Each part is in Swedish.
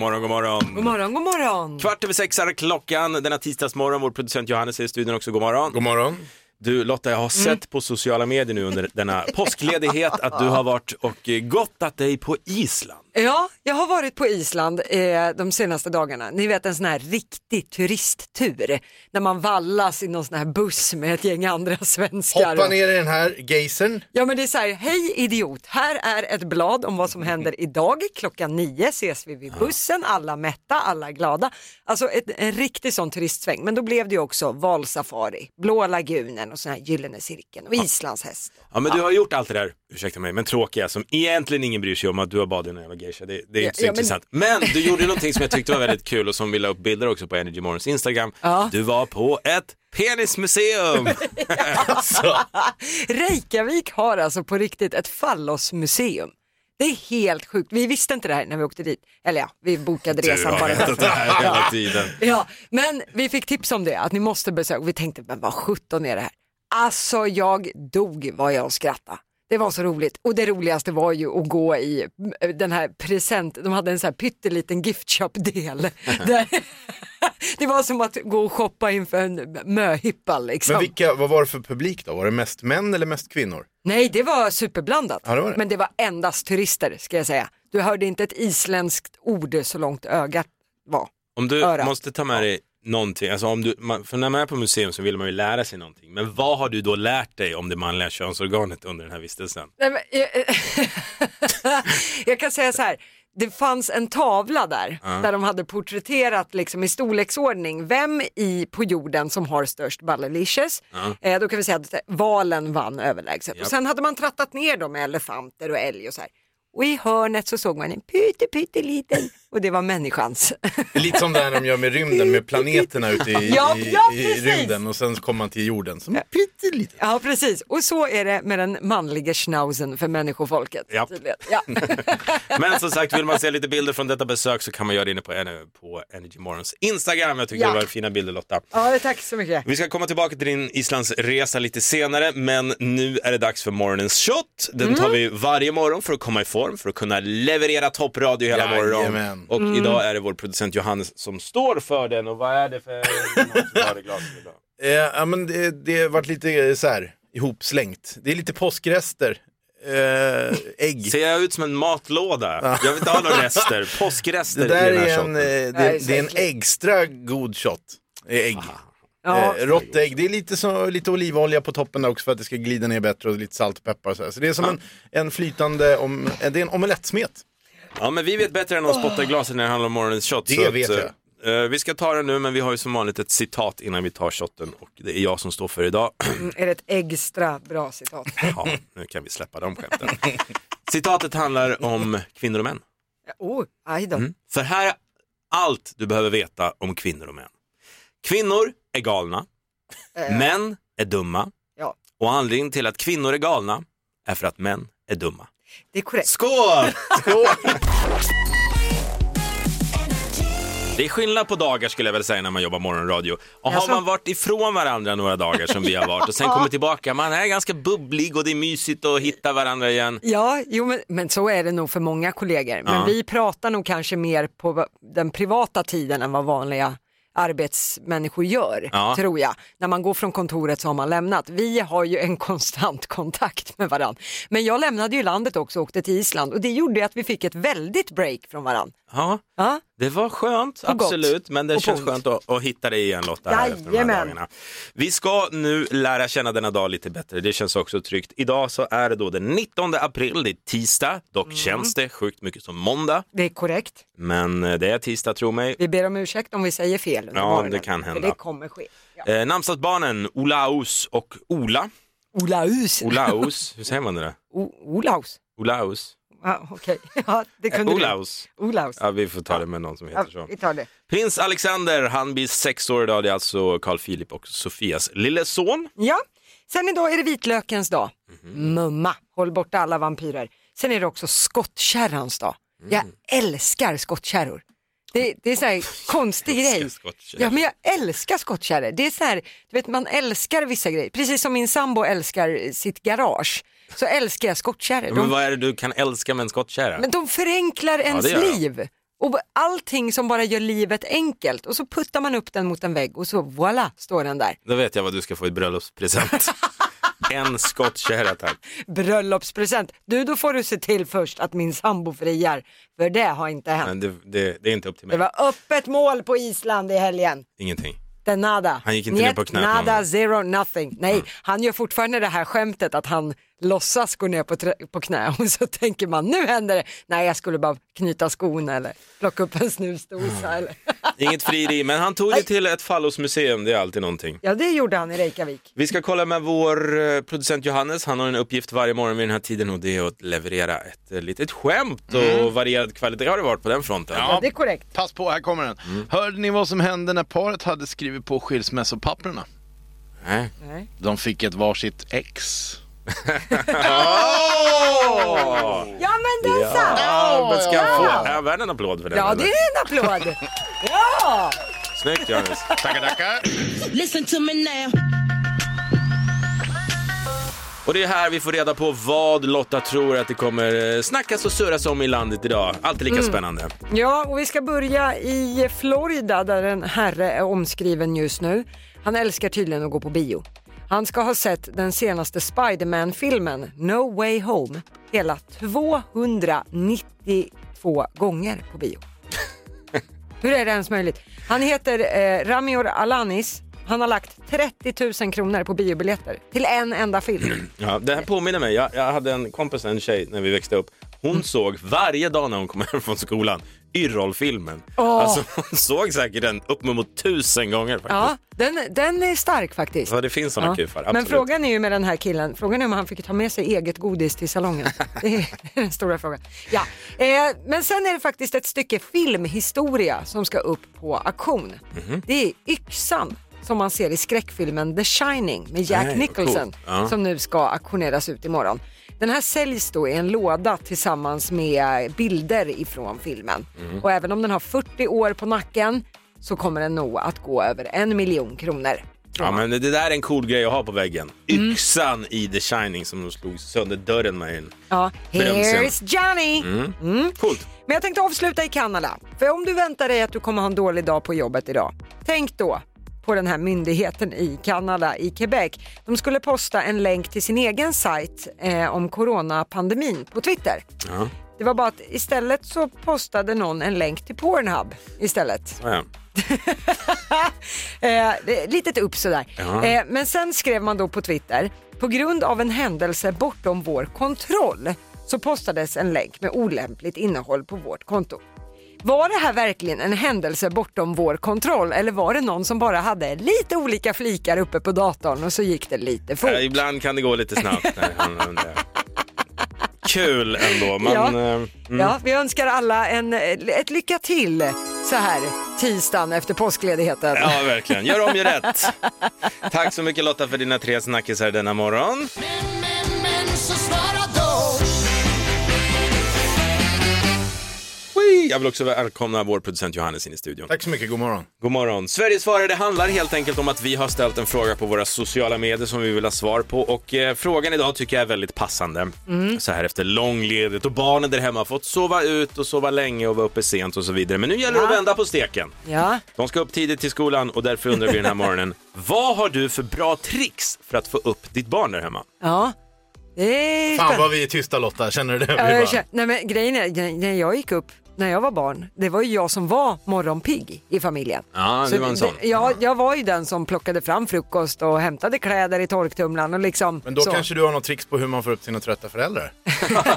morgon, god morgon. God morgon, god morgon. Kvart över sex är klockan denna tisdagsmorgon. Vår producent Johannes är i studion också. God morgon. God morgon. Du Lotta, jag har Mm. sett på sociala medier nu under denna påskledighet att du har varit och eh, gottat dig på Island. Ja, jag har varit på Island eh, de senaste dagarna. Ni vet en sån här riktig turisttur där man vallas i någon sån här buss med ett gäng andra svenskar. Hoppa ner i den här geysern. Ja men det är så här, hej idiot, här är ett blad om vad som händer idag. Klockan nio ses vi vid bussen, alla mätta, alla glada. Alltså ett, en riktig sån turistsväng. Men då blev det ju också valsafari, blå lagunen och sån här gyllene cirkeln och islandshäst. Ja, men du har gjort allt det där, ursäkta mig, men tråkiga som egentligen ingen bryr sig om att du har badat i någon jävla geisha. Det, det är inte så ja, men- intressant. Men... du gjorde någonting som jag tyckte var väldigt kul och som vi la upp bilder också på Energy Mornings Instagram. Ja. Du var på ett penismuseum. Reykjavik har alltså på riktigt ett fallosmuseum. Det är helt sjukt. Vi visste inte det här när vi åkte dit. Eller ja, vi bokade Du resan har bara. vetat det här hela tiden. Ja, men vi fick tips om det, att ni måste besöka. Vi tänkte, men vad sjutton är det här? Alltså jag dog vad jag skrattade. Det var så roligt och det roligaste var ju att gå i eh, den här present, de hade en så här pytteliten gift shop-del. Där- det var som att gå och shoppa inför en möhippa liksom. Men vilka, vad var det för publik då? Var det mest män eller mest kvinnor? Nej, det var superblandat. Ja, det var det. Men det var endast turister ska jag säga. Du hörde inte ett isländskt ord så långt ögat var. Om du Öra. måste ta med dig någonting, alltså om du, man, för när man är på museum så vill man ju lära sig någonting. Men vad har du då lärt dig om det manliga könsorganet under den här vistelsen? Nej, men, eh, jag, jag kan säga så här. Det fanns en tavla där, där de hade porträtterat liksom, i storleksordning vem i, på jorden som har störst ballelicious. Eh, då kan vi säga att valen vann överlägset. Och sen hade man trattat ner dem med elefanter och älg och så här. Och i hörnet så såg man en pytte pytteliten och det var människans. Det är Lite som det här de gör med rymden, med planeterna ute i, Ja, i, ja, i precis. rymden och sen så kommer man till jorden. Som pyttelite. Ja, precis. Och så är det med den manliga schnauzen för människofolket. Ja. tydligen. Ja. Men som sagt, vill man se lite bilder från detta besök så kan man göra det inne på, en- på Energy Morgons Instagram. Jag tycker Ja. det var fina bilder Lotta. ja, tack så mycket. Vi ska komma tillbaka till din Islandsresa lite senare, men nu är det dags för morgonens shot. Den tar vi varje morgon för att komma i form, för att kunna leverera toppradio hela morgonen. Jajamän. Och idag är det vår producent Johannes som står för den. Och vad är det för glas idag? Eh, ja, men det, det har varit lite eh, så här, ihopslängt. Det är lite påskrester. Eh, ägg. Ser jag ut som en matlåda? Jag vill inte ha några rester. Påskrester Det där i den här är en, shotten. eh, det, Det här är är så det är en äckligt. extra god shot. Det är Ägg. Ja. Eh, rått ägg. Det är lite, så, lite olivolja på toppen där också för att det ska glida ner bättre och lite salt och peppar. Och så, här. så det är som en, en flytande, om, eh, det är en omelettsmet. Ja, men vi vet bättre än att spotta i glasen när det handlar om morgonens shot. Det så att, vet eh, vi ska ta den nu, men vi har ju som vanligt ett citat innan vi tar shotten och det är jag som står för idag. Mm, Är det ett extra bra citat? Ja, nu kan vi släppa de skämten. Citatet handlar om kvinnor och män. Oh, aj då. För här är allt du behöver veta om kvinnor och män. Kvinnor är galna, Eh, män är dumma Ja, och anledningen till att kvinnor är galna är för att män är dumma. det är korrekt. Skål! Det är skillnad på dagar skulle jag väl säga när man jobbar morgonradio. Och har Jaså? man varit ifrån varandra några dagar som vi har varit och sen kommer tillbaka, man är ganska bubblig och det är mysigt att hitta varandra igen. Ja, jo, men, men så är det nog för många kollegor. Men Ja. vi pratar nog kanske mer på va- den privata tiden än vad vanliga arbetsmänniskor gör, Ja. tror jag. När man går från kontoret så har man lämnat. Vi har ju en konstant kontakt med varandra. Men jag lämnade ju landet också och åkte till Island och det gjorde ju att vi fick ett väldigt break från varandra. Ja, Ja. det var skönt, Och gott. absolut, men det Och känns ont. skönt att, att hitta dig igen Lotta här efter de här Jajamän. dagarna. Vi ska nu lära känna denna dag lite bättre, det känns också tryggt. Idag så är det då den 19 april, det är tisdag, dock Mm. känns det sjukt mycket som måndag. Det är korrekt. Men eh, det är tisdag, tro mig. Vi ber om ursäkt om vi säger fel under Ja, morgonen, det kan hända. För det kommer ske. Ja. Eh, namnsdagsbarnen Olaus och Ola. Olaus. Olaus, hur säger man det? där? O- Olaus. Olaus. Ja, Okej, ja, det kunde du. Eh, Olaus. Olaus. Ja, vi får ta det med någon som Ja, heter så. vi tar det. Prins Alexander, han blir sex år idag. Det är alltså Carl Philip och Sofias lille son. Ja. Sen idag är det vitlökens dag. Mhm. Mumma, håll borta alla vampyrer. Sen är det också skottkärrans dag. Mm. Jag älskar skottkärror. Det, det är så här konstig Älskar grej. skottkärror. Ja men jag älskar skottkärror. Det är så här, du vet man älskar vissa grejer. Precis som min sambo älskar sitt garage så älskar jag skottkärror. Men De, vad är det du kan älska med en skottkärra? men de förenklar ens det gör de. liv. Och b- allting som bara gör livet enkelt och så puttar man upp den mot en vägg och så voilà står den där. Då vet jag vad du ska få i bröllopspresent. en skottkärra tack. Bröllopspresent. Du, då får du se till först att min sambo friar. För det har inte hänt. Men det, det, det är inte upp till Det mig. var öppet mål på Island i helgen. Ingenting. Det är nada. Han gick inte Njet, ner på Mm. knät någon Nada, gång. zero, nothing. Nej, han gör fortfarande det här skämtet att han låtsas gå ner på, trä- på knä och så tänker man nu händer det. Nej, jag skulle bara knyta skon eller plocka upp en snusdosa. Mm. Eller. Inget frieri, men han tog det till ett fallosmuseum, det är alltid någonting. Ja, det gjorde han i Reykjavik. Vi ska kolla med vår eh, producent Johannes, han har en uppgift varje morgon vid den här tiden och det är att leverera ett eh, litet skämt och varierad kvalitet har det varit på den fronten. Ja, det är korrekt. Pass på, här kommer den. Hörde ni vad som hände när paret hade skrivit på skilsmässopapperna? Nej. Nej. De fick ett varsitt ex. Ja, men den satt! Ja, men ska han få, är han värd en applåd för den? Ja, eller? det är en applåd. Ja! Snyggt Johannes. Tackar, tackar. Listen to me now. Och det är här vi får reda på vad Lotta tror att det kommer eh, snackas och surras om i landet idag. Alltid lika Mm. spännande. Ja, och vi ska börja i Florida där en herre är omskriven just nu. Han älskar tydligen att gå på bio. Han ska ha sett den senaste Spiderman-filmen No Way Home hela 292 gånger på bio. Hur är det ens möjligt? Han heter eh, Ramior Alanis. Han har lagt 30 000 kronor på biobiljetter till en enda film. Ja, det här påminner mig, jag, jag hade en kompis, en tjej, när vi växte upp. Hon Mm. såg varje dag när hon kom hem från skolan Yrrol-filmen. Alltså hon såg säkert den uppemot tusen gånger faktiskt. Ja, den, den är stark faktiskt. Så det finns sådana Ja. kufar, Men absolut. frågan är ju med den här killen, frågan är om han fick ta med sig eget godis till salongen. Det är den stora frågan. Ja. Eh, men sen är det faktiskt ett stycke filmhistoria som ska upp på auktion. Mhm. Det är yxan som man ser i skräckfilmen The Shining med Jack Nej, vad Nicholson coolt. Ja. som nu ska auktioneras ut imorgon. Den här säljs då i en låda tillsammans med bilder ifrån filmen. Mhm. Och även om den har 40 år på nacken så kommer den nog att gå över en miljon kronor. Ja, men det där är en cool grej att ha på väggen. Mm. Yxan i The Shining som de slog sönder dörren med. en- Ja, Bremsen. here's Johnny! Mm. Coolt. Men jag tänkte avsluta i Kanada. För om du väntar dig att du kommer ha en dålig dag på jobbet idag, tänk då på den här myndigheten i Kanada, i Quebec. De skulle posta en länk till sin egen sajt eh, om coronapandemin på Twitter. Ja. Det var bara att istället så postade någon en länk till Pornhub istället. Ja, ja. Eh, det är litet upp sådär. Ja. Eh, men sen skrev man då på Twitter, på grund av en händelse bortom vår kontroll så postades en länk med olämpligt innehåll på vårt konto. Var det här verkligen en händelse bortom vår kontroll eller var det någon som bara hade lite olika flikar uppe på datorn och så gick det lite fort? Ja, ibland kan det gå lite snabbt. När han undrar. Kul ändå. Man, Ja. eh, mm. Ja, vi önskar alla en, ett lycka till så här tisdagen efter påskledigheten. Ja, verkligen. Gör om, gör rätt. Tack så mycket Lotta för dina tre snackisar denna morgon. Men, men, men, så svara då. Wee! Jag vill också välkomna vår producent Johannes in i studion. Tack så mycket, god morgon. God morgon. Sveriges svarare, det handlar helt enkelt om att vi har ställt en fråga på våra sociala medier som vi vill ha svar på och eh, frågan idag tycker jag är väldigt passande. Mm. Så här efter långledigt och barnen där hemma har fått sova ut och sova länge och vara uppe sent och så vidare. Men nu gäller det att Ja. vända på steken. Ja. De ska upp tidigt till skolan och därför undrar vi den här morgonen, vad har du för bra tricks för att få upp ditt barn där hemma? ja. Det är Fan vad vi är tysta Lotta, känner du Ja, det? Vi bara- jag känner, nej men grejen är, gre- när jag gick upp när jag var barn, det var ju jag som var morgonpigg i familjen. Ja, du Så var en det- sån. Ja, jag var ju den som plockade fram frukost och hämtade kläder i torktumlaren och liksom Men då så, kanske du har något tricks på hur man får upp sina trötta föräldrar?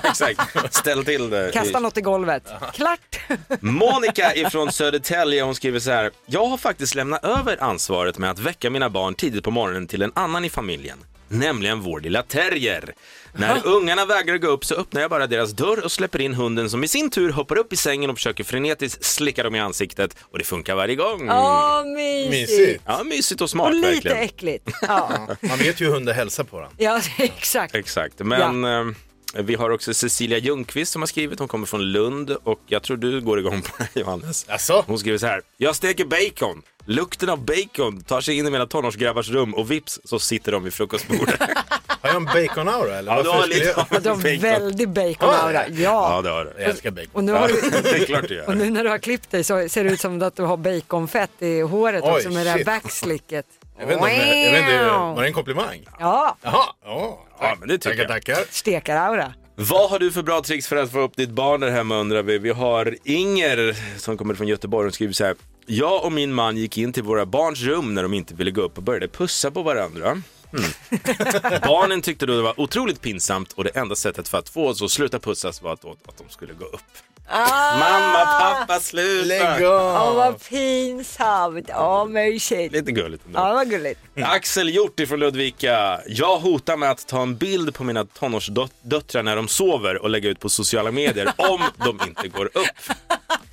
Exakt, ställ till det. kasta något i golvet. Klart! Mm. Monica ifrån Södertälje hon skriver så här. Jag har faktiskt lämnat över ansvaret med att väcka mina barn tidigt på morgonen till en annan i familjen. Nämligen vår lilla terrier. När ungarna vägrar gå upp så öppnar jag bara deras dörr och släpper in hunden som i sin tur hoppar upp i sängen och försöker frenetiskt slicka dem i ansiktet och det funkar varje gång. Åh, mysigt! Mysigt. Ja, mysigt och smart Och lite verkligen. äckligt. Ja, Man vet ju hur hundar hälsar på den. ja exakt. Exakt, men eh, vi har också Cecilia Ljungqvist som har skrivit, hon kommer från Lund och jag tror du går igång på det här, Johannes. Jaså? Hon skriver så här, jag steker bacon. Lukten av bacon tar sig in i mina tonårsgrabbars rum och vips så sitter de vid frukostbordet. Har jag en baconaura eller? Ja, du Varför har skulle lite jag- Du har väldigt baconaura. Ja, Ja. det har du. Jag älskar bacon. Och nu, har du, Det är klart du gör. och nu när du har klippt dig så ser det ut som att du har baconfett i håret Oj, också med det här shit. backslicket. Jag vet inte, om det- jag vet inte, var det en komplimang? Ja, Jaha, ja, Ja, men det tycker tackar, jag. tackar. stekaraura. Vad har du för bra tricks för att få upp ditt barn där hemma undrar vi. Vi har Inger som kommer från Göteborg och skriver så här. Jag och min man gick in till våra barns rum när de inte ville gå upp och började pussa på varandra. Mm. Barnen tyckte då det var otroligt pinsamt och det enda sättet för att få oss att sluta pussas var att, att de skulle gå upp. Mamma, pappa, Lägg sluta! av! Åh, Ah! vad pinsamt. Åh, mysigt. Lite gulligt ändå. Ja, vad gulligt. Axel Hjort från Ludvika. Jag hotar med att ta en bild på mina tonårsdöttrar när de sover och lägga ut på sociala medier om de inte går upp.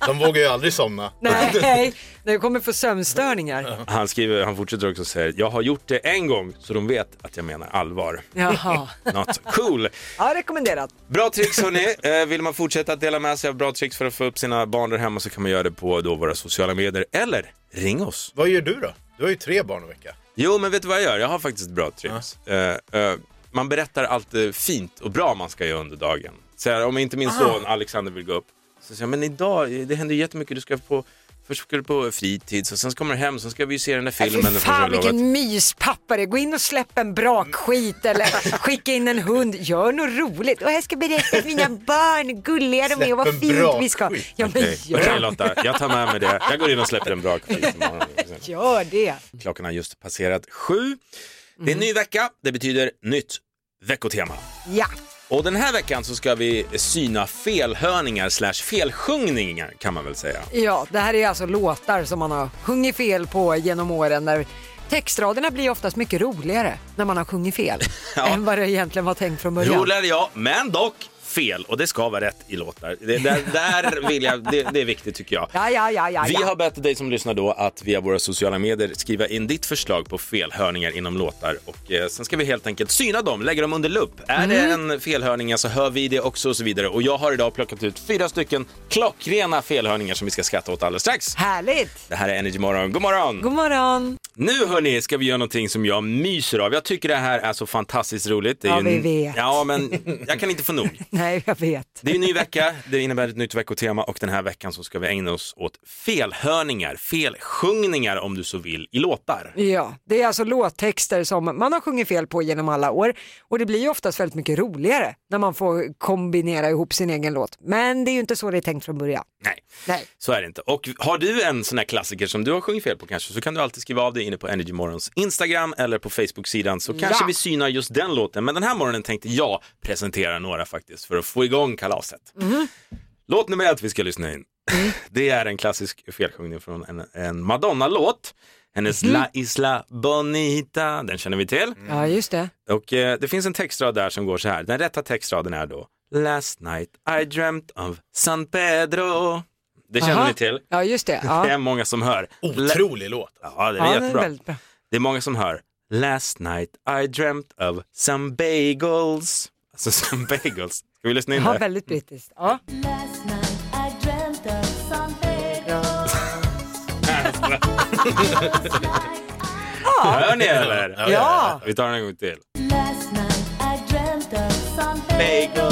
De vågar ju aldrig somna. Nej, du kommer få sömnstörningar. Han, skriver, han fortsätter också och säger, jag har gjort det en gång så de vet att jag menar allvar. Jaha. Not so cool. Ja, rekommenderat. Bra tricks hörni. Eh, Vill man fortsätta att dela med sig av bra tricks för att få upp sina barn där hemma så kan man göra det på då våra sociala medier eller ring oss. Vad gör du då? Du har ju tre barn i vecka. Jo men vet du vad jag gör? Jag har faktiskt ett bra tips. Eh, eh, man berättar allt eh, fint och bra man ska göra under dagen. Så här, om inte Ah. min son Alexander vill gå upp så säger jag, men idag, eh, det händer ju jättemycket. Du ska på, först ska du på fritids och sen så kommer du hem, sen ska vi ju se den där filmen. Fy och fan första lovet. vilken myspappa det är. Gå in och släpp en brakskit eller skicka in en hund. Gör något roligt. Och jag ska berätta för mina barn hur gulliga de är och vad Släpp en fint vi ska. brakskit. Ja, men Okej, gör, okej, Lotta, jag tar med mig det. Jag går in och släpper en bra skit imorgon. gör det. Klockan har just passerat sju. Det är Mm. en ny vecka, det betyder nytt veckotema. Ja, Och den här veckan så ska vi syna felhörningar slash felsjungningar kan man väl säga. ja, det här är alltså låtar som man har sjungit fel på genom åren. Där textraderna blir oftast mycket roligare när man har sjungit fel än vad det egentligen var tänkt från början. Roligare ja, men dock fel och det ska vara rätt i låtar. Det, där, där vill jag, det, det är viktigt tycker jag. Ja, ja, ja, ja, Vi ja. har bett dig som lyssnar då att via våra sociala medier skriva in ditt förslag på felhörningar inom låtar och eh, sen ska vi helt enkelt syna dem, lägga dem under lupp. Är Mm. det en felhörning så hör vi det också och så vidare och jag har idag plockat ut fyra stycken klockrena felhörningar som vi ska skratta åt alldeles strax. Härligt! Det här är Energy Morgon, god morgon! God morgon! Nu hörni ska vi göra någonting som jag myser av. Jag tycker det här är så fantastiskt roligt. Det är Ja, ju- vi vet. Ja, men jag kan inte få nog. Nej, jag vet. Det är en ny vecka, det innebär ett nytt veckotema och den här veckan så ska vi ägna oss åt felhörningar, felsjungningar om du så vill i låtar. Ja, det är alltså låttexter som man har sjungit fel på genom alla år och det blir ju oftast väldigt mycket roligare när man får kombinera ihop sin egen låt. Men det är ju inte så det är tänkt från början. Nej, Nej. så är det inte. Och har du en sån här klassiker som du har sjungit fel på kanske så kan du alltid skriva av dig inne på Energy Morgons Instagram eller på Facebook-sidan så kanske Ja. vi synar just den låten. Men den här morgonen tänkte jag presentera några faktiskt för att få igång kalaset. Mhm. Låt nummer ett vi ska lyssna in. Det är en klassisk felsjungning från en, en Madonna-låt. Hennes Mhm. La Isla Bonita, den känner vi till. Ja, just det. Och eh, det finns en textrad där som går så här. Den rätta textraden är då Last night I dreamt of San Pedro. Det känner Aha. ni till. Ja, just det. Det Ja. är många som hör. La- Otrolig låt. ja, det är Ja, den är jättebra. väldigt bra. Det är många som hör Last night I dreamt of some bagels. Alltså some bagels. Ska vi lyssna in Ja, det? väldigt brittiskt. Ja. Last night I dreamt of something. Hör ni eller? Ja. Vi tar den en gång till. Last night I dreamt of something. Bagel.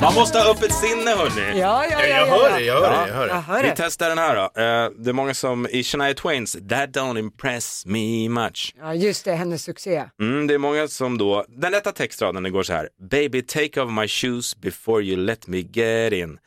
Man måste ha öppet sinne hörni. Ja, ja, ja, Jag ja, hör ja. det, jag hör det, jag hör Jag det. hör Vi det. testar den här då. Eh, Det är många som i Shania Twains That don't impress me much. Ja, just det, hennes succé. Mm, det är många som då, den rätta textraden den går så här. Baby take off my shoes before you let me get in.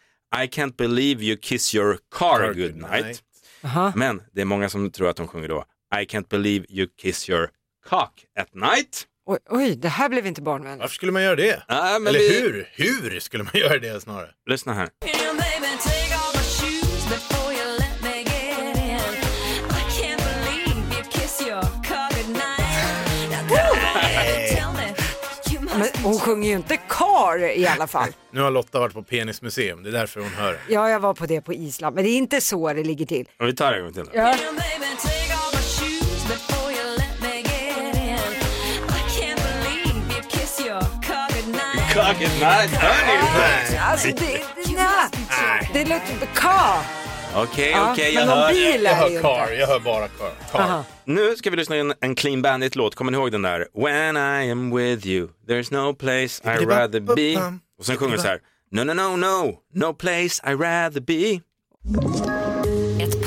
I can't believe you kiss your car, Car good goodnight. night. Aha. Men det är många som tror att de sjunger då I can't believe you kiss your cock at night. Oj, oj, det här blev inte barnvänligt. Varför skulle man göra det? Nej, men Eller vi- hur? Hur skulle man göra det snarare? Lyssna här. You baby take off my shoes before you let me get in. I can't believe you kiss your car goodnight. Now come on, tell me. You Men must hon sjunger ju inte kar i alla fall. Nu har Lotta varit på penismuseum, det är därför hon hör. Ja, jag var på det på Island, men det är inte så det ligger till. Och vi tar det en gång till. då. Ja. You baby take off my shoes before you let me get in. I can't believe you kiss your car goodnight. Cock at night, hör ni? Alltså, det, det, nej. det låter inte... Ka! Okej, Ja, okej, jag men någon hör. bil Jag är ju hör car, inte. jag hör bara car. car. Aha. Nu ska vi lyssna in en Clean Bandit-låt. Kommer ni ihåg den där? When I am with you, there's no place I'd rather be. Och sen sjunger vi så här. No, no, no, no, no place I'd rather be. Ett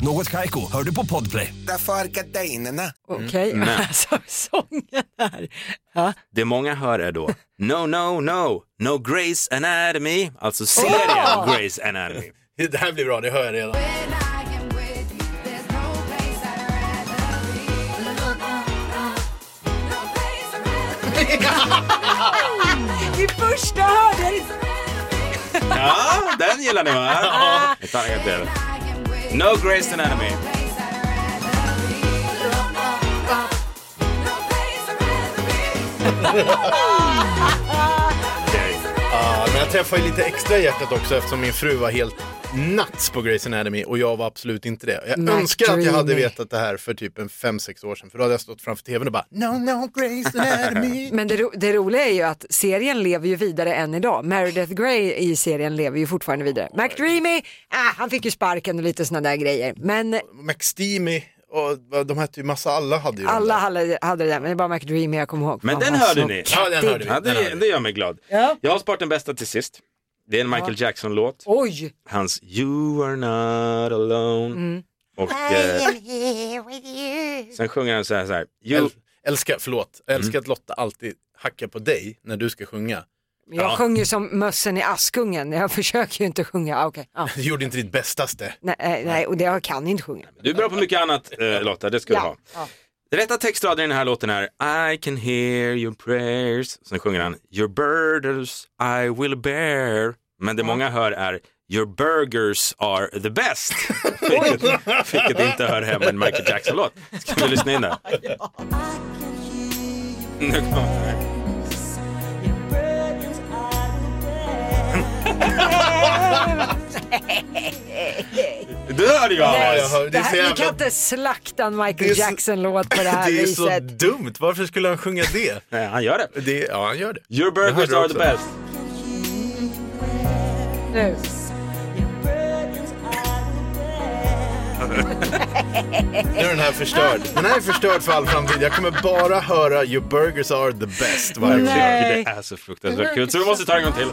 Något Kaiko, hör du på Podplay. Därför är gardinerna. Okej, alltså sången här. Ja. Det många hör är då No, no, no, no Grace Anatomy, alltså serien Grace Anatomy. Det här blir bra, det hör jag redan. I första hörde jag inte. Ja, den gillar ni va? Ja. Ett annat till. No Grace Anatomy. Okej. Ja, men jag träffade ju lite extra i hjärtat också eftersom min fru var helt nuts på Grey's Anatomy och jag var absolut inte det. Jag Matt önskar att jag hade Dreamy. vetat det här för typ en 5-6 år sedan för då hade jag stått framför tvn och bara No, no, Grey's Anatomy. Men det, ro- det roliga är ju att serien lever ju vidare än idag. Meredith Grey i serien lever ju fortfarande vidare. McDreamy, ah, han fick ju sparken och lite sådana där grejer. Men McSteamy och de hette ju massa, alla hade ju de alla där. hade, hade det där, men det är bara McDreamy jag kommer ihåg. Men Han den var hörde så- ni. Ja, den hörde vi. Ja, Den hörde det, vi. det gör mig glad. Ja. Jag har sparat den bästa till sist. Det är en Michael Jackson-låt. Oj, Hans You are not alone. Och eh, sen sjunger han så här. Så här you, Äl, älskar, förlåt, älskar att Lotta alltid hackar på dig när du ska sjunga. jag sjunger som mössen i Askungen. Jag försöker ju inte sjunga. Ah, okej. Ja. Du gjorde inte ditt bästaste. Nej, eh, nej, och det jag kan inte sjunga. du är bra på mycket annat eh, Lotta, det ska du ha. Rätta textraden i den här låten är I can hear your prayers. Sen sjunger han Your burdens I will bear. Men det många hör är Your burgers are the best. vilket, vilket inte hör hemma i en Michael Jackson-låt. Ska vi lyssna in där? Nu kommer den. Du hörde ju Ja, av jag oss! hör, Det det är här, så vi jävla... kan inte slakta en Det är Michael så- Jackson-låt på det här Det är ju så viset. dumt, varför skulle han sjunga det? Nej, Han gör det. det ja, han gör det. Your Jag hörde burgers det are också. the best. Nu. Nu är den här förstörd. Den här är förstörd för all framtid. Jag kommer bara höra Your burgers are the best varje gång. Nej. Det är så fruktansvärt kul, så vi måste ta en gång till.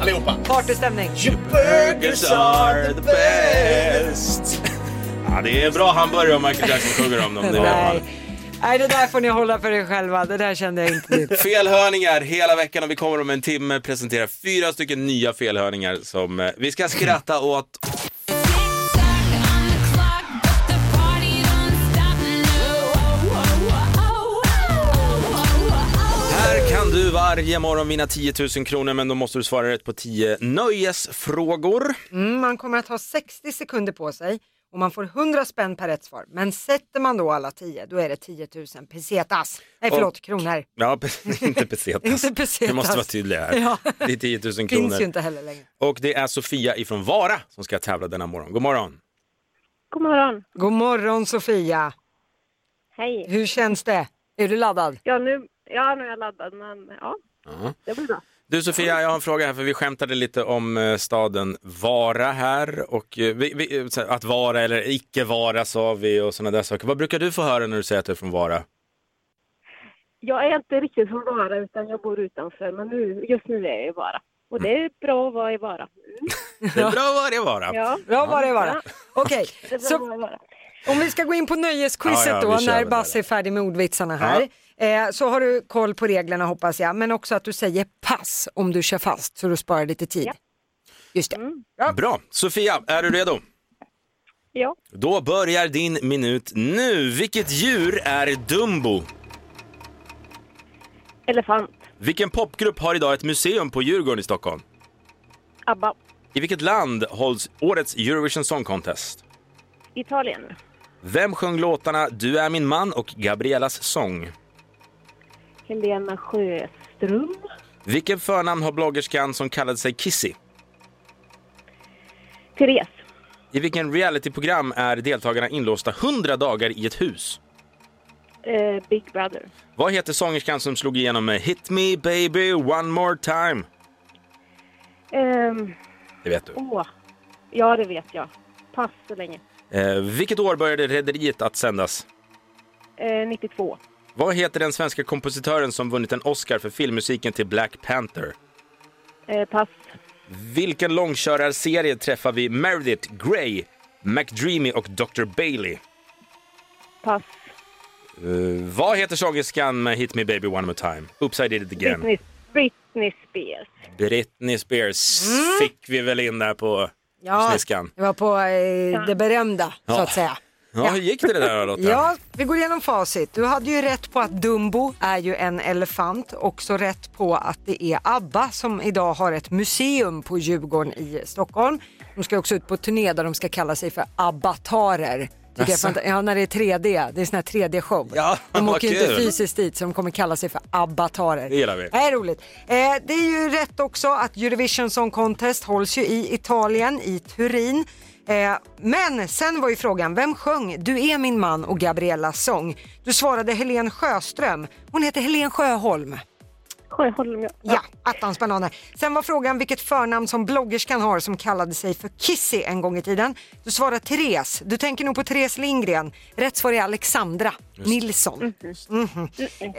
Allihopa. Partystämning. Burgers are the best. Ja, det är bra hamburgare om Michael Jackson sjunger om dem. Det är Nej. Nej, det där får ni hålla för er själva. Det där kände jag inte till. Felhörningar hela veckan och vi kommer om en timme presentera fyra stycken nya felhörningar som eh, vi ska skratta åt. Här kan du varje morgon vinna 10 000 kronor men då måste du svara rätt på 10 nöjesfrågor. Mm, man kommer att ha 60 sekunder på sig och man får 100 spänn per rätt svar. Men sätter man då alla 10, då är det 10 000 pesetas. Nej, förlåt, Och- kronor. Ja, pe- inte pesetas. Inte pesetas. Vi måste vara tydliga här. Ja. Det är 10 000 Finns kronor. ju inte heller längre. Och det är Sofia ifrån Vara som ska tävla denna morgon. God morgon. God morgon. God morgon Sofia. Hej. Hur känns det? Är du laddad? Ja nu, ja, nu är jag laddad, men ja, det blir bra. Du Sofia, jag har en fråga här för vi skämtade lite om eh, staden Vara här och eh, vi, vi, eh, så här, att vara eller icke vara sa vi och sådana där saker. Vad brukar du få höra när du säger att du är från Vara? Jag är inte riktigt från Vara, utan jag bor utanför, men nu, just nu är jag i Vara. Och det är bra att vara i Vara. Mm, Det är bra att vara i Vara. Ja, Bra var det bara. Okej, det är bra att så vara i Vara. om vi ska gå in på nöjesquizet Ja, ja, vi då kör när väl där Basse då. är färdig med ordvitsarna här. Eh, så har du koll på reglerna hoppas jag, men också att du säger pass om du kör fast så du sparar lite tid. Just det. Bra. Sofia, är du redo? Ja, Då börjar din minut nu. Vilket djur är Dumbo? elefant, Vilken popgrupp har idag ett museum på Djurgården i Stockholm? ABBA, I vilket land hålls årets Eurovision Song Contest? Italien, Vem sjöng låtarna Du är min man och Gabriellas sång? Helena Sjöström. Vilken förnamn har bloggerskan som kallade sig Kissy? Therese. I vilken realityprogram är deltagarna inlåsta 100 dagar i ett hus? Eh, Big Brother. Vad heter sångerskan som slog igenom med Hit me baby one more time? Ehm, Det vet du. åh. Ja, det vet jag. Pass så länge. Eh, vilket år började Rederiet att sändas? Eh, 92. Vad heter den svenska kompositören som vunnit en Oscar för filmmusiken till Black Panther? Eh, pass. Vilken långkörarserie träffar vi Meredith, Grey, McDreamy och Dr. Bailey? Pass. Eh, vad heter sångerskan med Hit Me Baby One More Time? Upside It Again. Britney, Britney Spears. Britney Spears fick vi väl in där på Ja, sniskan. det var på eh, det berömda så att säga. Ja, hur gick det där då Lotta? Ja, vi går igenom facit. Du hade ju rätt på att Dumbo är ju en elefant. Också rätt på att det är ABBA som idag har ett museum på Djurgården i Stockholm. De ska också ut på turné där de ska kalla sig för abbatarer. Tycker jag Jaså? fanta- Ja, när det är 3D. Det är sån här 3D-show. Ja, de vad åker ju inte kul. fysiskt dit så de kommer kalla sig för abbatarer. Det gillar vi. Det är roligt. Eh, det är ju rätt också att Eurovision Song Contest hålls ju i Italien, i Turin. Eh, men sen var ju frågan, vem sjöng Du är min man och Gabriellas sång? Du svarade Helen Sjöström. Hon heter Helen Sjöholm. Sjöholm, ja. Ja, attans bananer. Sen var frågan vilket förnamn som bloggerskan har som kallade sig för Kissy en gång i tiden. Du svarade Therese. Du tänker nog på Therese Lindgren. Rätt svar är Alexandra Nilsson. Mhm.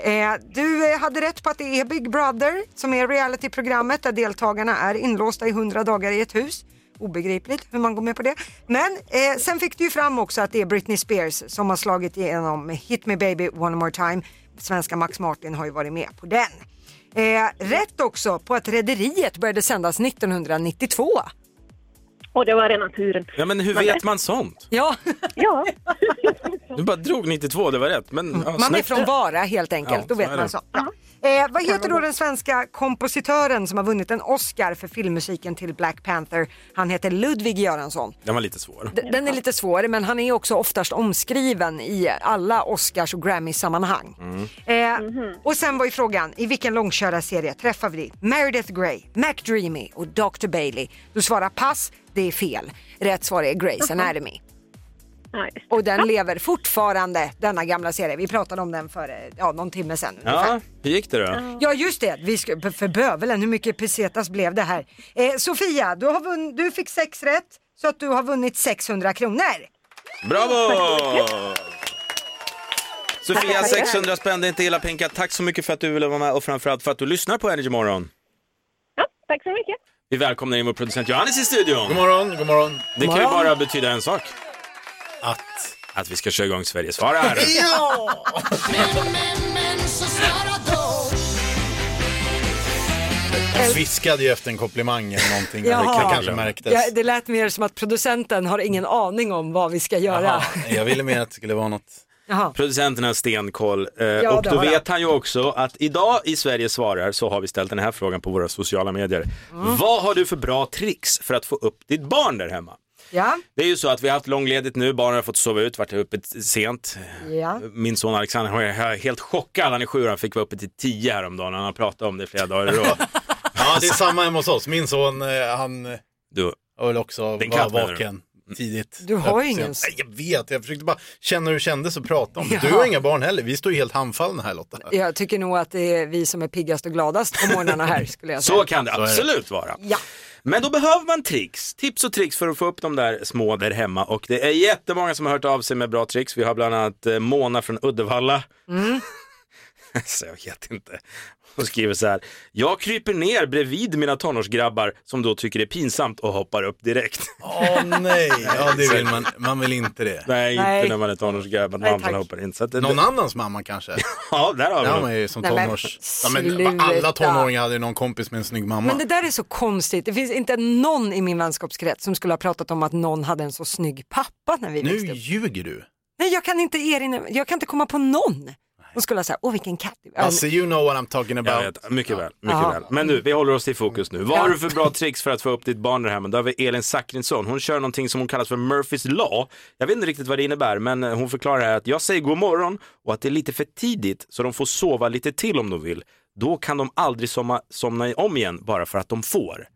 Eh, du eh, hade rätt på att det är Big Brother som är realityprogrammet där deltagarna är inlåsta i 100 dagar i ett hus. Obegripligt hur man går med på det. Men eh, sen fick du ju fram också att det är Britney Spears som har slagit igenom med Hit Me Baby One More Time. Svenska Max Martin har ju varit med på den. Eh, rätt också på att Rederiet började sändas 1992. Och det var rena turen. Ja, men hur vet man sånt? Ja, Ja. Du bara drog 92, det var rätt. Men, ja, man är snyggt. från Vara helt enkelt, Ja, då så vet är man det. så. Ja. Eh, vad heter då den svenska kompositören som har vunnit en Oscar för filmmusiken till Black Panther? Han heter Ludwig Göransson. Den var lite svår. D- Den är lite svår men han är också oftast omskriven i alla Oscars och Grammy-sammanhang. Mm. Eh, Och sen var ju frågan, i vilken långkörarserie träffar vi Meredith Grey, McDreamy och Dr. Bailey? Du svarar pass, det är fel. Rätt svar är Grey's Anatomy. Nej. Och den lever fortfarande, denna gamla serie. Vi pratade om den för ja, någon timme sedan ungefär. Ja, hur gick det då? Ja just det, vi ska, för bövelen, hur mycket pesetas blev det här? Eh, Sofia, du, har vunn, du fick sex rätt så att du har vunnit 600 kronor. Bravo! Sofia, 600 spänn, det är inte illa pinkat. Tack så mycket för att du ville vara med och framförallt för att du lyssnar på Energy Morgon. ja, tack så mycket. Vi välkomnar in vår producent Johannes i studion. God morgon, god morgon. Det kan ju morgon. bara betyda en sak. Att. Att vi ska köra igång Sverige svarar. Ja! Men, men, men så svara då. Jag sviskade ju efter en komplimang eller någonting. Det Jaha. kanske märktes. Ja, det lät mer som att producenten har ingen aning om vad vi ska göra. Jaha, jag ville mer att det skulle vara något. Jaha. Producenten har stenkoll. Eh, Ja, och det då har han. vet han ju också att idag i Sverige svarar så har vi ställt den här frågan på våra sociala medier. Mm. Vad har du för bra tricks för att få upp ditt barn där hemma? Ja, Det är ju så att vi har haft långledigt nu, barnen har fått sova ut, varit uppe t- sent. ja. Min son Alexander han är helt chockad, han är sju år, han fick vara uppe till tio häromdagen, han har pratat om det i flera dagar. i rad. Ja, det är samma hemma hos oss. Min son, eh, han eh, Du, har väl också Din var katt, menar vaken tidigt. Du har ju Sen- ingen- Nej, Jag vet, jag försökte bara känna hur det kändes att prata om det. Du Ja. har inga barn heller. Vi står ju helt handfallna här Lotta. Jag tycker nog att det är vi som är piggast och gladast på morgnarna här skulle jag säga. så kan det absolut vara. Ja. Men då behöver man tricks, tips och tricks för att få upp de där små där hemma. Och det är jättemånga som har hört av sig med bra tricks. Vi har bland annat eh, Mona från Uddevalla. Mm. så jag vet inte. Hon skriver så här. Jag kryper ner bredvid mina tonårsgrabbar som då tycker det är pinsamt och hoppar upp direkt. Åh nej, ja, det vill man. man vill inte det. Nej, Nej. inte när man är tonårsgrabb. att Nej, Man tack. hoppar in. Så att, det- Någon annans mamma kanske? Ja, där har vi Det har något. man ju som Nej, men tonårs... Ja, men alla sluta. tonåringar hade ju någon kompis med en snygg mamma. Men det där är så konstigt. Det finns inte någon i min vänskapskrets som skulle ha pratat om att någon hade en så snygg pappa när vi Nu växte upp. ljuger du. Nej, jag kan inte erinra Jag kan inte komma på någon. Hon skulle ha så här, åh vilken katt. Ja, Alltså you know what I'm talking Jag about. vet, mycket väl, mycket Ja. väl. Men nu, vi håller oss till fokus nu. Vad har du för bra tricks för att få upp ditt barn i det här? Men då har vi Elin Zachrisson. Hon kör någonting som hon kallar för Murphys Law. Jag vet inte riktigt vad det innebär, men eh, hon förklarar här att jag säger god morgon och att det är lite för tidigt, så de får sova lite till om de vill. Då kan de aldrig somma, somna om igen bara för att de får.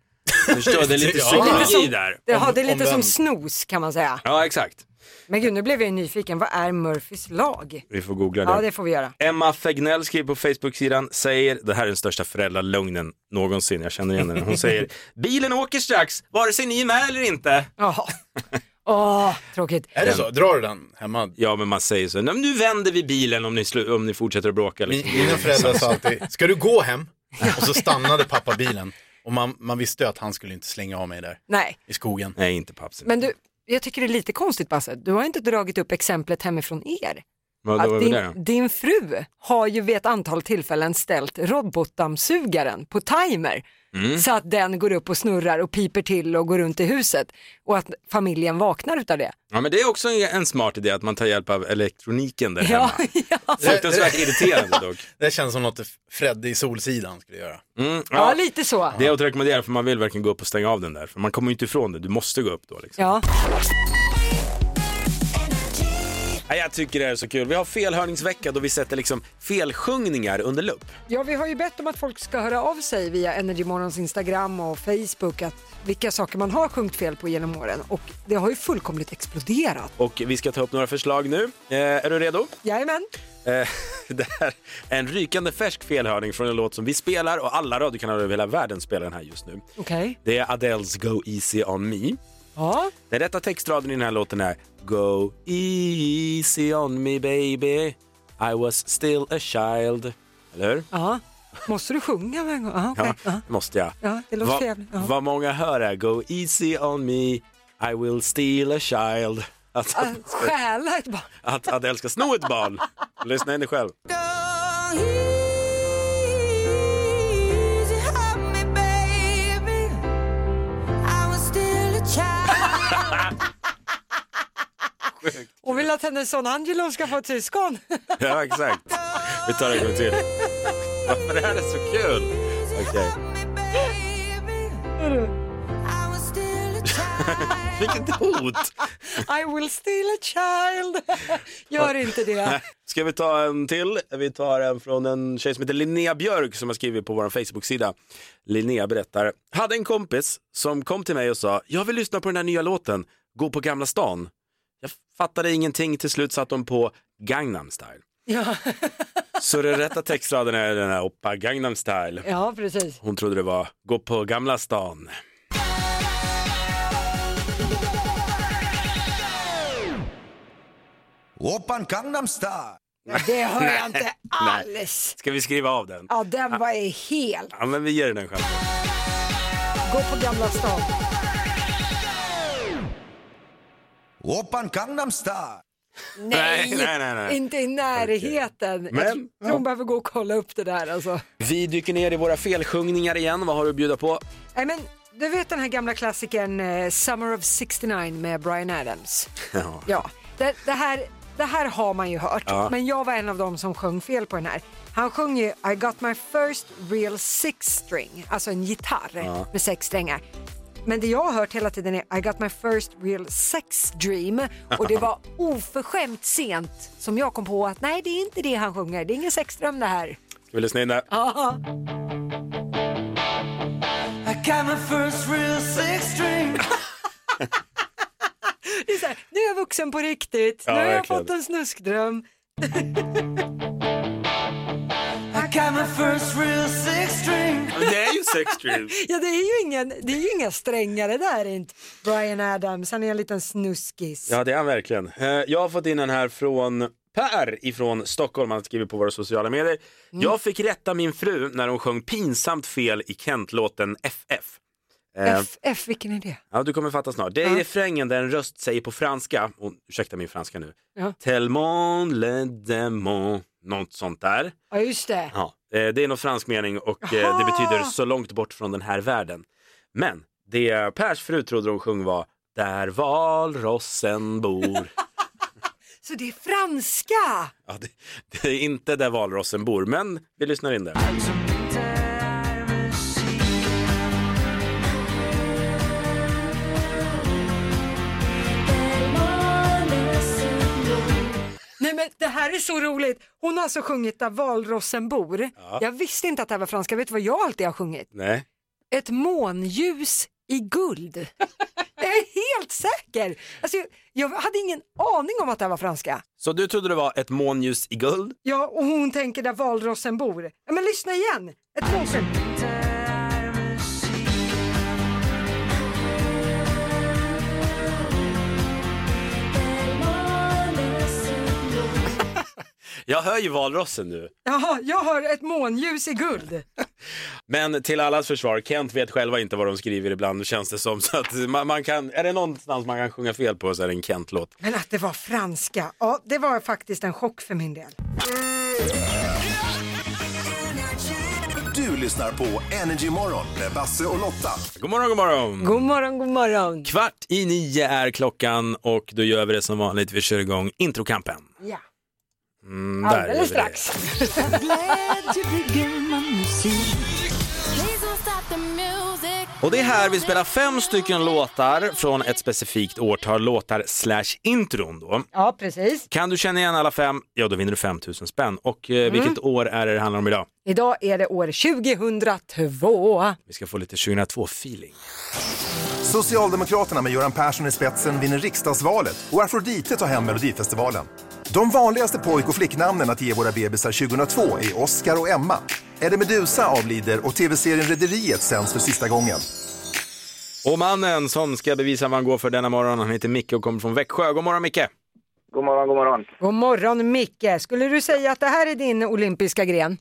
Förstår, det är lite Ja. psykologi Lite som- där. det, ja, Om- det är lite omvänd. som snus kan man säga. Ja, exakt. Men gud, nu blev jag ju nyfiken. Vad är Murphys lag? Vi får googla det. Ja, det får vi göra. Emma Fegnell skriver på Facebook-sidan, säger, det här är den största föräldralugnen någonsin, jag känner igen den. Hon säger, bilen åker strax, vare sig ni är med eller inte. Jaha. Åh, tråkigt. Är det så? Drar du den hemma? Ja, men man säger så, "Nej, men nu vänder vi bilen om ni, slu- om ni fortsätter att bråka. Mi- Liksom. Mina föräldrar sa alltid, ska du gå hem? Och så stannade pappa bilen. Och man, man visste ju att han skulle inte slänga av mig där Nej, i skogen. Nej, inte pappsen. men du, jag tycker det är lite konstigt Basse. Du har inte dragit upp exemplet hemifrån er. Vad då, Att vad var det din, då? din fru har ju vid ett antal tillfällen ställt robotdammsugaren på timer Mm. så att den går upp och snurrar och piper till och går runt i huset och att familjen vaknar utav det. Ja, men det är också en, en smart idé att man tar hjälp av elektroniken där Ja, hemma. ja. Fruktansvärt irriterande dock. Det känns som något Fredde i Solsidan skulle göra. Mm, ja ja. lite så. Det är att rekommendera för man vill verkligen gå upp och stänga av den där. För man kommer ju inte ifrån det, du måste gå upp då. Liksom. Ja. Ja, jag tycker det är så kul. Vi har felhörningsvecka då vi sätter liksom felsjungningar under lupp. ja, vi har ju bett om att folk ska höra av sig via Energymorgons Instagram och Facebook att vilka saker man har sjungit fel på genom åren och det har ju fullkomligt exploderat. Och vi ska ta upp några förslag nu. Eh, är du redo? Jajamän. Eh, det här är en rykande färsk felhörning från en låt som vi spelar och alla radiokanaler över hela världen spelar den här just nu. Okej. Det är Adeles Go Easy On Me. Ja. Den rätta textraden i den här låten är Go easy on me baby I was still a child. Eller hur? ja. Måste du sjunga varje gång? Ja, okej. Ja, ja. måste jag. Ja, det låter Va- trevligt. Ja. Vad många hör är Go easy on me I will steal a child. Alltså, Att Stjäla ett barn. att Adele ska sno ett barn. Lyssna in dig själv. Och vill att hennes son Angelo ska få ett syskon. Ja, exakt. Vi tar det en gång till. Varför är det så kul? Okej. Vilket hot! I will steal a child. Gör inte det. Ska vi ta en till? Vi tar en från en tjej som heter Linnea Björk som har skrivit på vår Facebook-sida. Linnea berättar, hade en kompis som kom till mig och sa, jag vill lyssna på den här nya låten, Gå på Gamla stan. Jag fattade ingenting, till slut satt de på Gangnam style. Ja, Så den rätta textraden är den här, Oppa Gangnam style. ja precis. Hon trodde det var Gå på Gamla stan. Oppan Gangnam Style. Det hör jag inte alls. Ska vi skriva av den? Ja, den var ju helt. Ja, men vi ger den en chans. Gå på Gamla stan. Oppan Gangnam Style. Nej, nej, nej, nej. Inte i närheten. Men, jag tror ja. hon behöver gå och kolla upp det där alltså. Vi dyker ner i våra felsjungningar igen. Vad har du att bjuda på? Nej, men du vet den här gamla klassikern eh, Summer of 69 med Bryan Adams? Ja. Ja, det, det, här, det här har man ju hört, men jag var en av dem som sjöng fel på den här. Han sjöng ju I got my first real six string, alltså en gitarr med sex strängar. Men det jag har hört hela tiden är I got my first real sex dream och det var oförskämt sent som jag kom på att nej det är inte det han sjunger, det är ingen sexdröm det här. Ska vi lyssna in där? Ja, det är så här, nu är jag vuxen på riktigt, Ja, nu har jag verkligen. fått en snuskdröm. Det är ju sex dream. Ja, det är ju, ingen, det är ju inga strängar det där är inte. Brian Adams, han är en liten snuskis. Ja, det är han verkligen. Eh, Jag har fått in den här från Per ifrån Stockholm. Han skriver på våra sociala medier. Mm. Jag fick rätta min fru när hon sjöng pinsamt fel i Kent-låten FF. Eh, F, F, vilken är det? Ja, du kommer fatta snart. Det är refrängen där en röst säger på franska, och, ursäkta min franska nu, Ja. Tellement le demon, något sånt där. Ja, just det. Ja, eh, det är någon fransk mening och eh, det Jaha! betyder så långt bort från den här världen. Men det Pers fru trodde hon sjöng var Där valrossen bor. Så det är franska! Ja, det, det är inte där valrossen bor, men vi lyssnar in det. Nej men det här är så roligt. Hon har alltså sjungit Där valrossen bor. Jag visste inte att det här var franska. Vet du vad jag alltid har sjungit? Nej. Ett månljus i guld. jag är helt säker. Alltså, jag- jag hade ingen aning om att det här var franska. Så du trodde det var ett månljus i guld? Ja, och hon tänker Där valrossen bor. Ja, men lyssna igen. Ett månljus. Jag hör ju valrossen nu. Jaha, jag har ett månljus i guld. Men till allas försvar, Kent vet själva inte vad de skriver ibland känns det som. Så att man, man kan, är det någonstans man kan sjunga fel på så är det en Kent-låt. Men att det var franska, ja det var faktiskt en chock för min del. Du lyssnar på Energy Morgon med Basse och Lotta. God morgon, god morgon! God morgon, god morgon. Kvart i nio är klockan och då gör vi det som vanligt. Vi kör igång introkampen. Ja. Mm, där gör vi Alldeles det. strax. Och det är här vi spelar fem stycken låtar från ett specifikt årtal, låtar slash intron då. Ja, precis. Kan du känna igen alla fem, ja då vinner du 5000 spänn. Och eh, Mm. vilket år är det det handlar om idag? Idag är det år 2002. Vi ska få lite 2002-feeling. Socialdemokraterna med Göran Persson i spetsen vinner riksdagsvalet och Afrodite tar hem Melodifestivalen. De vanligaste pojk och flicknamnen att ge våra bebisar 2002 är Oscar och Emma. Eddie Meduza avlider och tv-serien Rederiet sänds för sista gången. Och mannen som ska bevisa vad han går för denna morgon, han heter Micke och kommer från Växjö. God morgon Micke! God morgon, god morgon. God morgon Micke. Skulle du säga att det här är din olympiska gren?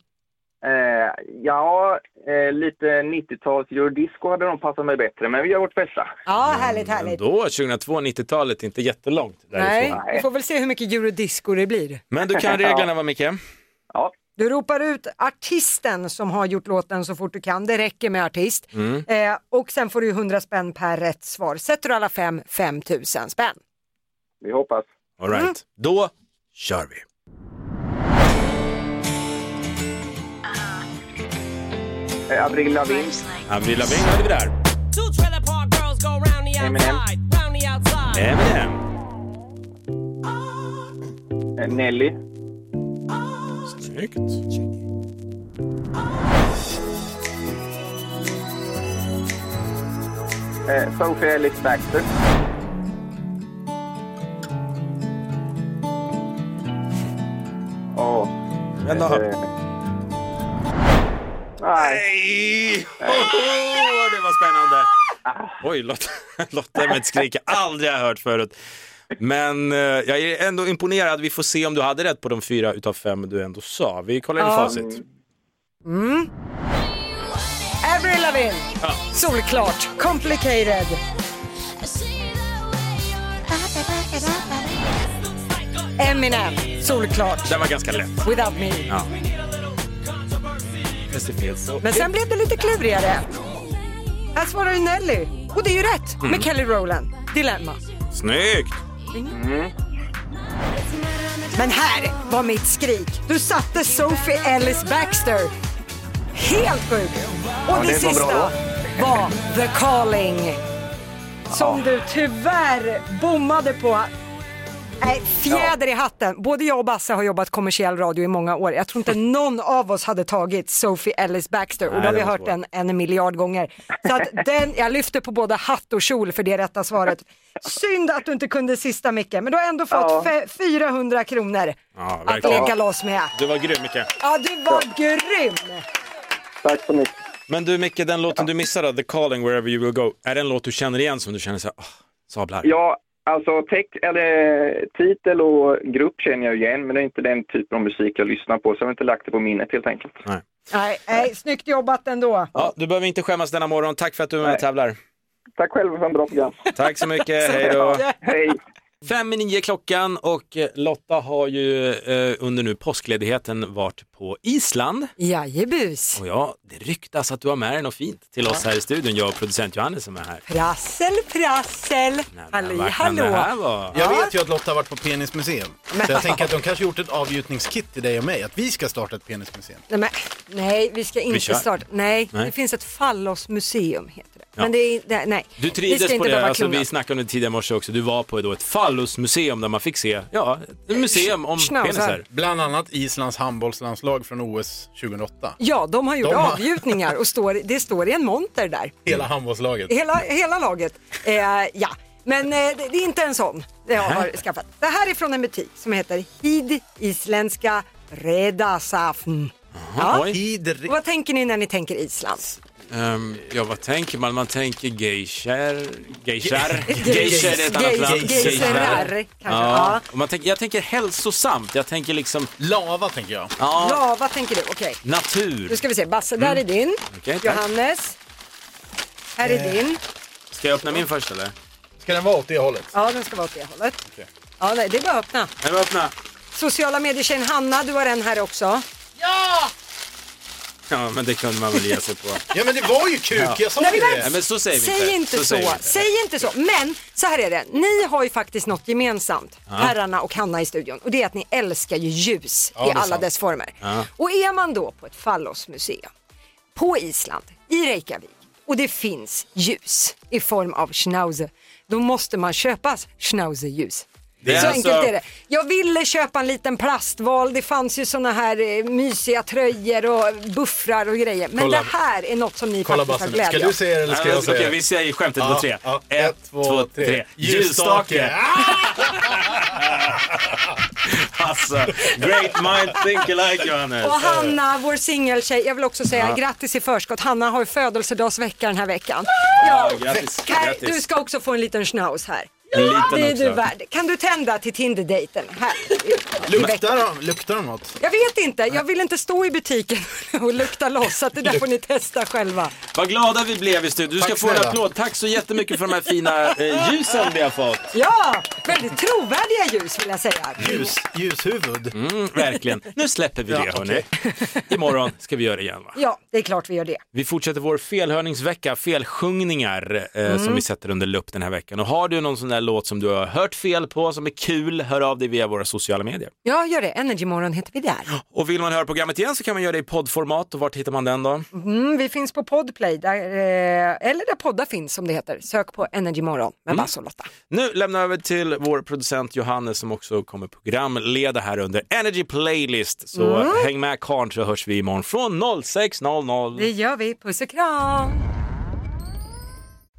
Eh, ja, eh, lite 90-tals eurodisco hade nog passat mig bättre, men vi gör vårt bästa. Ja, härligt, härligt. Då, 2002, 90-talet, inte jättelångt Nej, därifrån. vi får väl se hur mycket eurodisco det blir. Men du kan reglerna va Mm. Micke? Ja, Du ropar ut artisten som har gjort låten så fort du kan. Det räcker med artist. Eh, och sen får du 100 spänn per rätt svar. Sätter du alla fem, 5000 spänn. vi hoppas. All right. Då kör vi! Eh, Avril Lavigne, Avril Lavigne hade vi där. Eminem, Eminem. eh, Nelly, Snyggt. eh, Sophie Ellis Baxter, och... Vänta. Eh, nej, Nej! Åh, det var spännande! Oj, Lotta, Lotta med ett skrik jag aldrig har hört förut. Men eh, jag är ändå imponerad. Vi får se om du hade rätt på de fyra utav fem du ändå sa. Vi kollar in Ja. facit. Avril Lavigne. Solklart. Complicated. Eminem. Solklart. Den var ganska lätt. Without me. Ja. Men sen blev det lite klurigare. Här svarar du Nelly. Och det är ju rätt med Kelly Rowland. Dilemma. Snyggt! Men här var mitt skrik. Du satte Sophie Ellis Baxter. Helt sjukt. Och det det, var bra sista då. var The Calling. Som du tyvärr bommade på. Nej, fjäder i hatten. Både jag och Basse har jobbat kommersiell radio i många år. Jag tror inte någon av oss hade tagit Sophie Ellis Baxter och Nej, då har det vi var hört svårt. den en miljard gånger. Så att den, jag lyfter på både hatt och kjol för det rätta svaret. Synd att du inte kunde sista Micke, men du har ändå fått fe- 400 kronor Ja, att verkligen. leka loss med. Du var grym Micke. Ja, du var grym! tack så mycket. Men du Micke, den låten du missade, The Calling Wherever You Will Go, är det en låt du känner igen som du känner så här, åh, sablar? Ja, alltså text, eller, titel och grupp känner jag igen, men det är inte den typen av musik jag lyssnar på, så jag har inte lagt det på minnet helt enkelt. Nej. Nej, nej, snyggt jobbat ändå. Ja, du behöver inte skämmas denna morgon. Tack för att du är med och tävlar. Tack själv för en bra program. Tack så mycket, hej då. Hej! Fem i nio klockan och eh, Lotta har ju eh, under nu påskledigheten varit på Island. Jajebus. Och ja, det ryktas att du har med dig något fint till oss här i studion, jag och producent Johannes som är här. Prassel, prassel. Halli vad kan hallå. det här vara? Jag vet ju att Lotta har varit på penismuseum. Så jag tänker att de kanske gjort ett avgjutningskit till dig och mig, att vi ska starta ett penismuseum. Nej, men, nej, vi ska inte kör. starta. Nej, Nej. det finns ett fallosmuseum heter det. Ja. Men det är det, nej. Du Vi trivdes ska på inte behöva det, alltså, klona. vi snackade om det tidigare i morse också, du var på då ett fallosmuseum där man fick se, ja, Eh, ett museum om penisar. Bland annat Islands handbollslandslag från OS 2008. Ja, de har gjort De har- avgjutningar och står, det står i en monter där. Hela handbollslaget. Hela, hela laget. Eh, ja, men eh, det, det är inte en sån jag har Nähä. skaffat. Det här är från en butik som heter Hid Isländska Reda Safn. Ja. Och Vad tänker ni när ni tänker Island? Ehm, ja, vad tänker man? Man tänker geishar, geishar, Ge- geishar är ett annat ge- land. geiserar, Geishar. kanske, ja. Ja. Och man tänker, jag tänker hälsosamt, jag tänker liksom... Lava tänker jag. Ja, Ja, vad tänker du? Okej, natur. nu ska vi se. Basse, där är din. Mm. Okej, tack. Johannes, här är din. Ska jag öppna min först eller? Ska den vara åt det hållet? Ja, den ska vara åt det hållet. Ja, nej, det är bara att öppna. Kan vi öppna? Sociala medier-tjejen Hanna, du har en här också. Ja! Ja, men det kunde man väl ge sig på. Ja men det var ju kuk, jag sa Nej, ju men- det. Nej, men så säger vi Säg inte så, säger vi inte. säg inte så. Men så här är det, ni har ju faktiskt något gemensamt, Ja. herrarna och Hanna i studion, och det är att ni älskar ju ljus Ja, i det är alla sant. dess former. Ja. Och är man då på ett fallosmuseum på Island, i Reykjavik, och det finns ljus i form av schnauzer, då måste man köpa schnauzerljus. Det är så alltså- enkelt är det. Jag ville köpa en liten plastval, det fanns ju såna här eh, mysiga tröjor och buffrar och grejer. Men Kolla. det här är något som ni Kolla faktiskt har bassen nu. Ska glädje du av. säga det eller ska Ja, alltså, jag säga okej, det? vi säger skämtet på Ja, tre. ja. Ett, två, tre. Ljusstake! Alltså, great mind think alike Johannes. Och Hanna, vår singeltjej, jag vill också säga Eh. Ja. grattis i förskott. Hanna har ju födelsedagsvecka den här veckan. Ja, grattis, Här, grattis. du ska också få en liten schnauz här. En liten det är också. du värd. Kan du tända till Tinder-dejten? Här. Luktar de, luktar de något? Jag vet inte, jag vill inte stå i butiken och lukta loss så att det där får ni testa själva. Vad glada vi blev i studion. Du ska Tack få en snälla. applåd. Tack så jättemycket för de här fina eh, ljusen vi har fått. Ja, väldigt trovärdiga ljus vill jag säga. Ljus, ljushuvud. Mm, verkligen. Nu släpper vi det hörni. Imorgon ska vi göra det igen va? Ja, det är klart vi gör det. Vi fortsätter vår felhörningsvecka, felsjungningar eh, som Mm. vi sätter under lupp den här veckan. Och har du någon sån där låt som du har hört fel på som är kul, hör av dig via våra sociala medier. Ja, gör det. Energymorgon heter vi där. Och vill man höra programmet igen så kan man göra det i poddformat och vart hittar man den då? Mm, vi finns på Podplay, där, eh, eller där poddar finns som det heter. Sök på Energymorgon med Mm. Basse och Lotta. Nu lämnar jag över till vår producent Johannes som också kommer programleda här under Energy Playlist. Så Mm. häng med karln så hörs vi imorgon från 06.00. Det gör vi. Puss och kram!